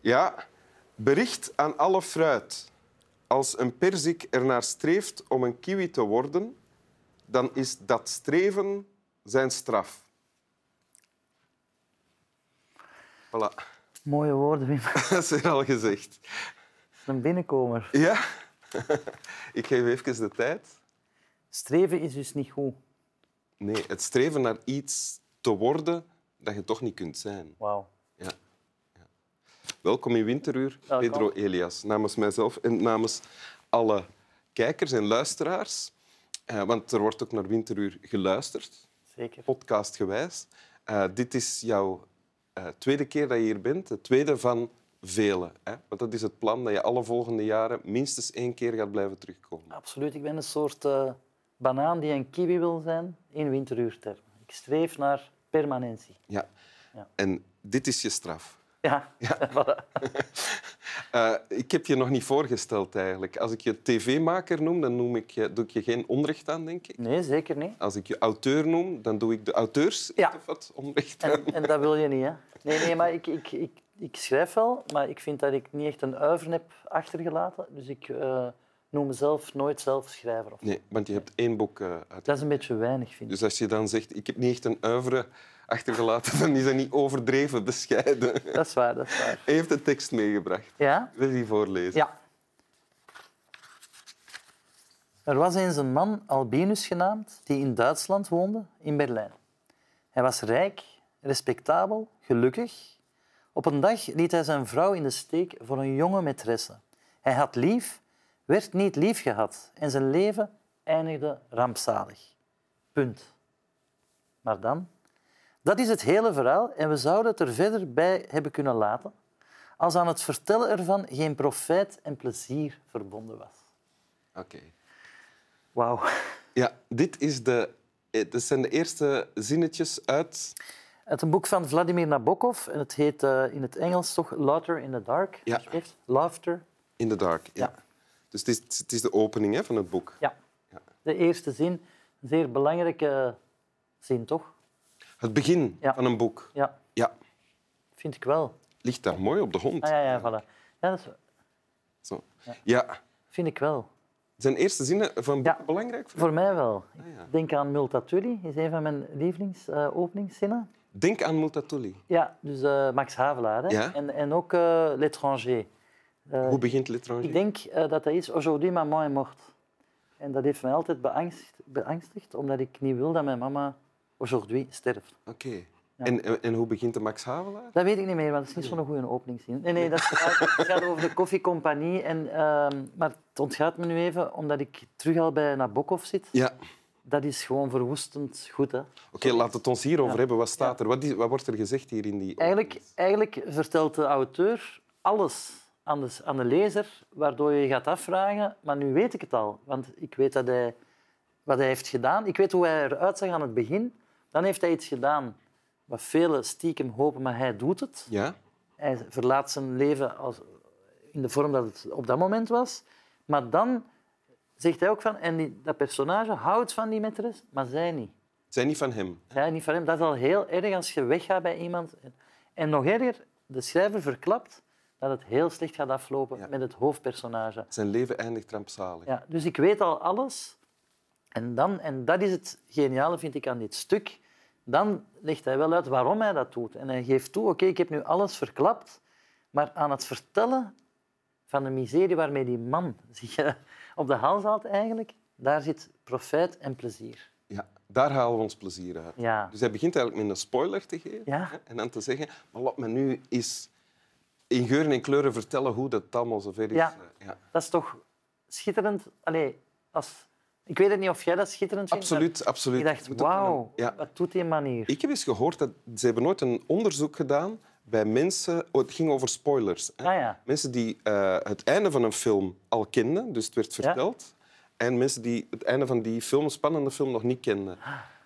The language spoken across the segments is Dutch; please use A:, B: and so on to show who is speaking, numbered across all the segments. A: Ja, bericht aan alle fruit. Als een perzik ernaar streeft om een kiwi te worden, dan is dat streven zijn straf. Voilà,
B: Mooie woorden, Wim. Dat
A: dat is er al gezegd.
B: is Een binnenkomer.
A: Ja, ik geef even de tijd.
B: Streven is dus niet goed.
A: Nee, het streven naar iets te worden dat je toch niet kunt zijn.
B: Wauw.
A: Ja. Ja. Welkom in Winteruur,
B: Welkom.
A: Pedro Elias. Namens mijzelf en namens alle kijkers en luisteraars. Eh, want er wordt ook naar Winteruur geluisterd,
B: Zeker.
A: podcastgewijs. Eh, dit is jouw eh, tweede keer dat je hier bent, de tweede van vele. Hè? Want dat is het plan dat je alle volgende jaren minstens één keer gaat blijven terugkomen.
B: Absoluut. Ik ben een soort eh, banaan die een kiwi wil zijn in winteruurtermen. Ik streef naar permanentie.
A: Ja.
B: Ja.
A: En dit is je straf.
B: Ja, voilà.
A: Eh, ik heb je nog niet voorgesteld eigenlijk. Als ik je tv-maker noem, dan noem ik je, doe ik je geen onrecht aan, denk ik.
B: Nee, zeker niet.
A: Als ik je auteur noem, dan doe ik de auteurs
B: Ja.
A: echt of wat onrecht aan.
B: En, en dat wil je niet, hè? Nee, nee, maar ik, ik, ik, ik schrijf wel, maar ik vind dat ik niet echt een uiver heb achtergelaten. Dus ik eh, noem mezelf nooit zelf schrijver. Of...
A: Nee, want je hebt één boek eh, uit.
B: Dat is een beetje weinig, vind ik.
A: Dus als je dan zegt, ik heb niet echt een oeuvre achtergelaten, dan is dat niet overdreven bescheiden.
B: Dat is waar, dat is waar.
A: Hij heeft een tekst meegebracht.
B: Ja?
A: Wil je die voorlezen?
B: Ja. Er was eens een man, Albinus genaamd, die in Duitsland woonde, in Berlijn. Hij was rijk, respectabel, gelukkig. Op een dag liet hij zijn vrouw in de steek voor een jonge maîtresse. Hij had lief, werd niet lief gehad en zijn leven eindigde rampzalig. Punt. Maar dan? Dat is het hele verhaal en we zouden het er verder bij hebben kunnen laten als aan het vertellen ervan geen profijt en plezier verbonden was.
A: Oké.
B: Wauw.
A: Ja, dit is de, eh, dit zijn de eerste zinnetjes uit...
B: Het is een boek van Vladimir Nabokov en het heet eh, in het Engels toch Laughter in the Dark.
A: Ja.
B: alsjeblieft. Laughter.
A: In the Dark. Ja.
B: Ja.
A: Dus het is, het is de opening hè, van het boek.
B: Ja.
A: Ja.
B: De eerste zin, een zeer belangrijke eh, zin, toch?
A: Het begin
B: Ja.
A: van een boek.
B: Ja,
A: Ja,
B: vind ik wel.
A: ligt daar mooi op de hond.
B: Ah ja, ja, voilà. Ja, dat is-
A: Zo. Ja,
B: vind ik wel.
A: zijn eerste zinnen van boeken
B: Ja.
A: belangrijk? Voor...
B: Voor mij wel.
A: Ah, ja.
B: Ik denk aan Multatuli, is een van mijn lievelingsopeningszinnen.
A: Denk aan Multatuli.
B: ja, dus eh, Max Havelaar. Hè?
A: Ja.
B: En, en ook eh L'étranger. Eh,
A: Hoe begint L'étranger?
B: Ik denk eh, dat dat is aujourd'hui maman est morte. En dat heeft mij altijd beangstigd, beangstigd omdat ik niet wil dat mijn mama aujourd'hui sterft.
A: Oké. En, en, en hoe begint de Max Havelaar?
B: Dat weet ik niet meer, want dat is niet zo'n goede openingszin. Nee, nee, dat gaat, het gaat over de koffiecompagnie. En, ehm, maar het ontgaat me nu even, omdat ik terug al bij Nabokov zit.
A: Ja, oké,
B: Dat is gewoon verwoestend goed, hè.
A: laat het ons hierover hebben. Wat staat er? Wat, is- wat wordt er gezegd hier in die...
B: Eigenlijk, eigenlijk vertelt de auteur alles aan de, aan de lezer, waardoor je je gaat afvragen, maar nu weet ik het al, want ik weet dat hij, wat hij heeft gedaan. Ik weet hoe hij eruit zag aan het begin. Dan heeft hij iets gedaan wat velen stiekem hopen, maar hij doet het.
A: Ja?
B: Hij verlaat zijn leven als, in de vorm dat het op dat moment was. Maar dan zegt hij ook van, en die, dat personage houdt van die maîtresse, maar zij niet.
A: Zijn niet van hem.
B: Ja, niet van hem. Dat is al heel erg als je weggaat bij iemand. En nog erger, de schrijver verklapt dat het heel slecht gaat aflopen
A: Ja.
B: met het hoofdpersonage.
A: Zijn leven eindigt rampzalig.
B: Ja, dus ik weet al alles. En, dan, en dat is het geniale, vind ik, aan dit stuk. Dan legt hij wel uit waarom hij dat doet. En hij geeft toe, oké, ik heb nu alles verklapt, maar aan het vertellen van de miserie waarmee die man zich eh, op de hals haalt eigenlijk, daar zit profijt en plezier.
A: Ja, Daar halen we ons plezier uit.
B: Ja.
A: Dus hij begint eigenlijk met een spoiler te geven.
B: Ja.
A: hè, En dan te zeggen, maar laat me nu eens in geuren en kleuren vertellen hoe dat allemaal zover is.
B: Ja.
A: Eh, ja.
B: Dat is toch schitterend. Allee, als... Ik weet het niet of jij dat schitterend vindt.
A: Absoluut,
B: maar
A: absoluut.
B: Ik dacht,
A: Het moet ook wel een-
B: wauw,
A: Ja.
B: wat doet die manier?
A: Ik heb eens gehoord dat ze hebben nooit een onderzoek gedaan bij mensen. Oh, het ging over spoilers. Hè?
B: Ah ja,
A: Mensen die eh, het einde van een film al kenden, dus het werd verteld. En mensen die het einde van die film, een spannende film, nog niet kenden.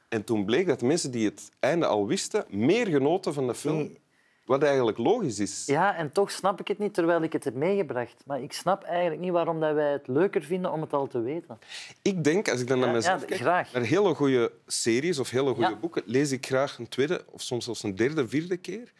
A: En toen bleek dat mensen die het einde al wisten, meer genoten van de film.
B: Nee.
A: Wat eigenlijk logisch is.
B: ja, en toch snap ik het niet terwijl ik het heb meegebracht. Maar ik snap eigenlijk niet waarom dat wij het leuker vinden om het al te weten.
A: Ik denk, als ik dan naar
B: Ja,
A: mezelf
B: ja,
A: kijk,
B: graag.
A: naar hele goede series of hele goede
B: Ja.
A: boeken, lees ik graag een tweede of soms zelfs een derde, vierde keer.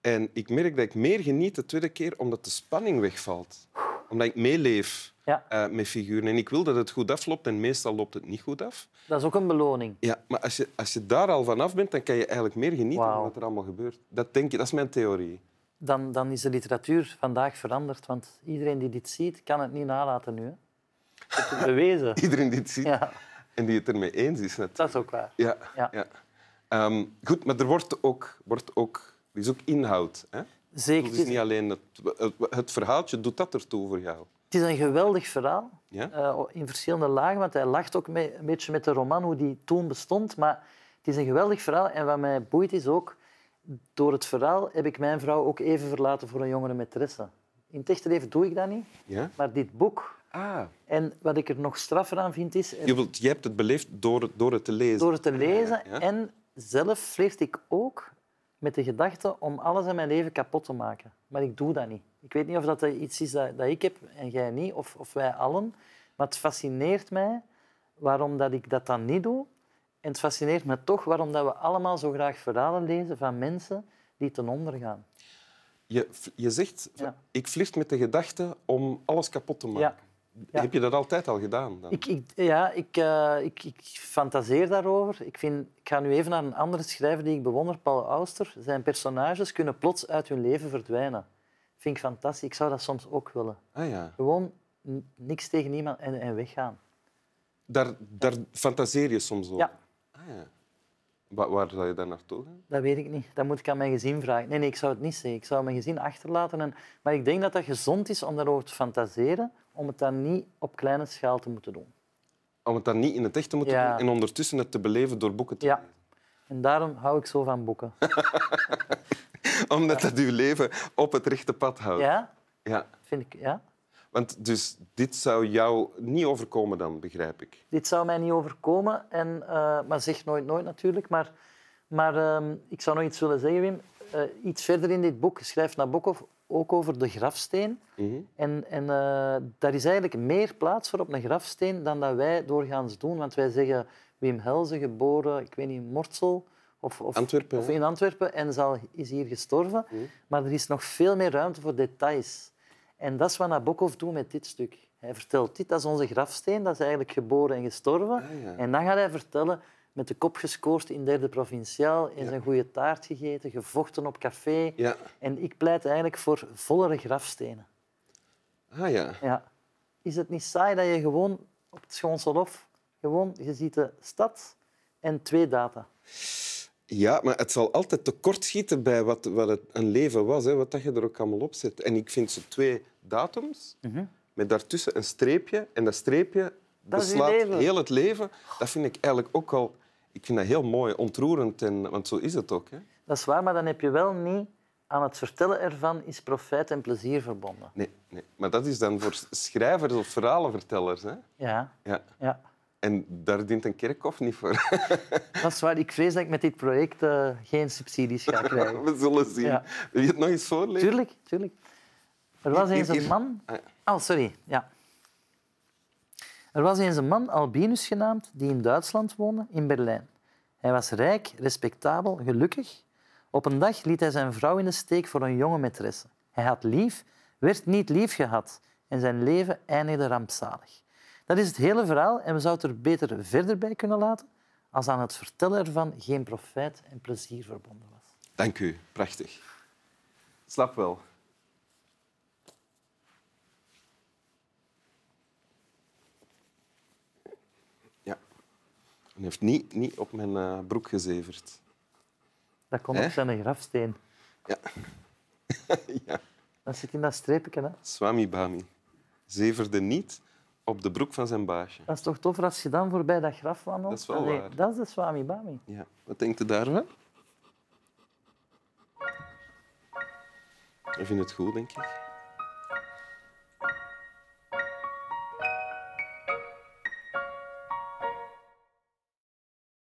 A: En ik merk dat ik meer geniet de tweede keer omdat de spanning wegvalt. Omdat ik meeleef
B: Ja.
A: eh, met figuren. En ik wil dat het goed afloopt en meestal loopt het niet goed af.
B: Dat is ook een beloning.
A: Ja, maar als je, als je daar al vanaf bent, dan kan je eigenlijk meer genieten
B: Wauw.
A: van wat er allemaal gebeurt. Dat denk ik, dat is mijn theorie.
B: Dan, dan is de literatuur vandaag veranderd, want iedereen die dit ziet, kan het niet nalaten nu. Hè. Je hebt het bewezen.
A: Iedereen die het ziet
B: Ja,
A: en die het ermee eens is. Net.
B: dat is ook waar.
A: Ja.
B: Ja.
A: ja. Ehm, goed, maar er wordt ook, wordt ook, er is ook inhoud. Hè?
B: Zeker.
A: Het is niet alleen het, het, het verhaaltje, doet dat ertoe voor jou?
B: Het is een geweldig verhaal
A: Ja?
B: eh, in verschillende lagen, want hij lacht ook mee, een beetje met de roman hoe die toen bestond. Maar het is een geweldig verhaal en wat mij boeit is ook, door het verhaal heb ik mijn vrouw ook even verlaten voor een jongere maîtresse. In het echte leven doe ik dat niet,
A: ja?
B: maar dit boek.
A: Ah,
B: En wat ik er nog straffer aan vind is,
A: je, wilt, je hebt het beleefd door, het- door het te lezen.
B: door het te lezen
A: Dus- Ja.
B: en zelf flirt ik ook met de gedachte om alles in mijn leven kapot te maken. Maar ik doe dat niet. Ik weet niet of dat iets is dat, dat ik heb en jij niet, of, of wij allen. Maar het fascineert mij waarom dat ik dat dan niet doe. En het fascineert me toch waarom dat we allemaal zo graag verhalen lezen van mensen die ten onder gaan.
A: Je, je zegt,
B: Ja.
A: ik flirt met de gedachte om alles kapot te maken.
B: Ja. Ja.
A: Heb je dat altijd al gedaan? Dan?
B: Ik, ik, ja, ik, eh, ik, ik fantaseer daarover. Ik, vind, ik ga nu even naar een andere schrijver die ik bewonder, Paul Auster. Zijn personages kunnen plots uit hun leven verdwijnen. Vind ik fantastisch. Ik zou dat soms ook willen.
A: Ah ja.
B: Gewoon n- niks tegen niemand en, en weggaan.
A: Daar, daar fantaseer je soms over?
B: Ja.
A: Ah, ja. Waar, waar zou je dan naartoe gaan?
B: Dat weet ik niet. Dat moet ik aan mijn gezin vragen. Nee, nee, ik zou het niet zeggen. Ik zou mijn gezin achterlaten. En... Maar ik denk dat dat gezond is om daarover te fantaseren, om het dan niet op kleine schaal te moeten doen.
A: Om het dan niet in het echt te moeten
B: Ja.
A: doen en ondertussen het te beleven door boeken te
B: Ja.
A: lezen.
B: En daarom hou ik zo van boeken.
A: Omdat dat je leven op het rechte pad houdt.
B: Ja?
A: Ja.
B: Vind ik, ja?
A: Want dus dit zou jou niet overkomen dan, begrijp ik.
B: dit zou mij niet overkomen. En, eh, maar zeg nooit nooit natuurlijk. Maar, maar ehm, ik zou nog iets willen zeggen, Wim. Eh, iets verder in dit boek schrijft Nabokov ook over de grafsteen.
A: Mhm.
B: En, en eh, daar is eigenlijk meer plaats voor op een grafsteen dan dat wij doorgaans doen. Want wij zeggen Wim Helze, geboren, ik weet niet, in Mortsel of, of,
A: Antwerpen,
B: of
A: hè? Mhm.
B: in Antwerpen en zal, is hier gestorven. Maar er is nog veel meer ruimte voor details. En dat is wat Nabokov doet met dit stuk. Hij vertelt dit, dat is onze grafsteen, dat is eigenlijk geboren en gestorven.
A: Ah, ja.
B: En dan gaat hij vertellen, met de kop gescoord in derde provinciaal, eens
A: Ja.
B: een goede taart gegeten, gevochten op café.
A: Ja.
B: En ik pleit eigenlijk voor vollere grafstenen.
A: Ah ja.
B: Ja. Is het niet saai dat je gewoon op het Schoonselhof, gewoon, je ziet de stad en twee data.
A: Ja, maar het zal altijd tekortschieten bij wat, wat het een leven was, hè, wat dat je er ook allemaal op zet. En ik vind ze twee datums, met daartussen een streepje. En dat streepje
B: Dat is uw
A: beslaat
B: leven.
A: heel het leven. Dat vind ik eigenlijk ook al... Ik vind dat heel mooi, ontroerend, en, want zo is het ook. Hè.
B: Dat is waar, maar dan heb je wel niet aan het vertellen ervan is profijt en plezier verbonden.
A: Nee, nee, maar dat is dan voor schrijvers of verhalenvertellers. Hè.
B: Ja,
A: Ja.
B: ja.
A: En daar dient een kerkhof niet voor.
B: Dat is waar. Ik vrees dat ik met dit project eh, geen subsidies ga krijgen.
A: We zullen zien.
B: Ja.
A: Wil je het nog eens voorlezen?
B: Tuurlijk, tuurlijk. Er was
A: Hier,
B: eens
A: hier,
B: een man...
A: Ah,
B: Oh, sorry. Ja. Er was eens een man, Albinus genaamd, die in Duitsland woonde, in Berlijn. Hij was rijk, respectabel, gelukkig. Op een dag liet hij zijn vrouw in de steek voor een jonge maîtresse. Hij had lief, werd niet lief gehad en zijn leven eindigde rampzalig. Dat is het hele verhaal en we zouden het er beter verder bij kunnen laten als aan het vertellen ervan geen profijt en plezier verbonden was.
A: Dank u. Prachtig. Slap wel. Ja. Hij heeft niet, niet op mijn eh, broek gezeverd.
B: Dat komt
A: Hè?
B: op zijn grafsteen.
A: Ja. ja.
B: Dat zit in dat streepje. Hè?
A: Swami Bami. Zeverde niet op de broek van zijn baasje.
B: Dat is toch tof als je dan voorbij dat graf wandelt?
A: Dat is wel
B: Allee,
A: waar.
B: Dat is de Swami Bami.
A: Ja. Wat denkt u daarvan? Ik vind het goed, denk ik.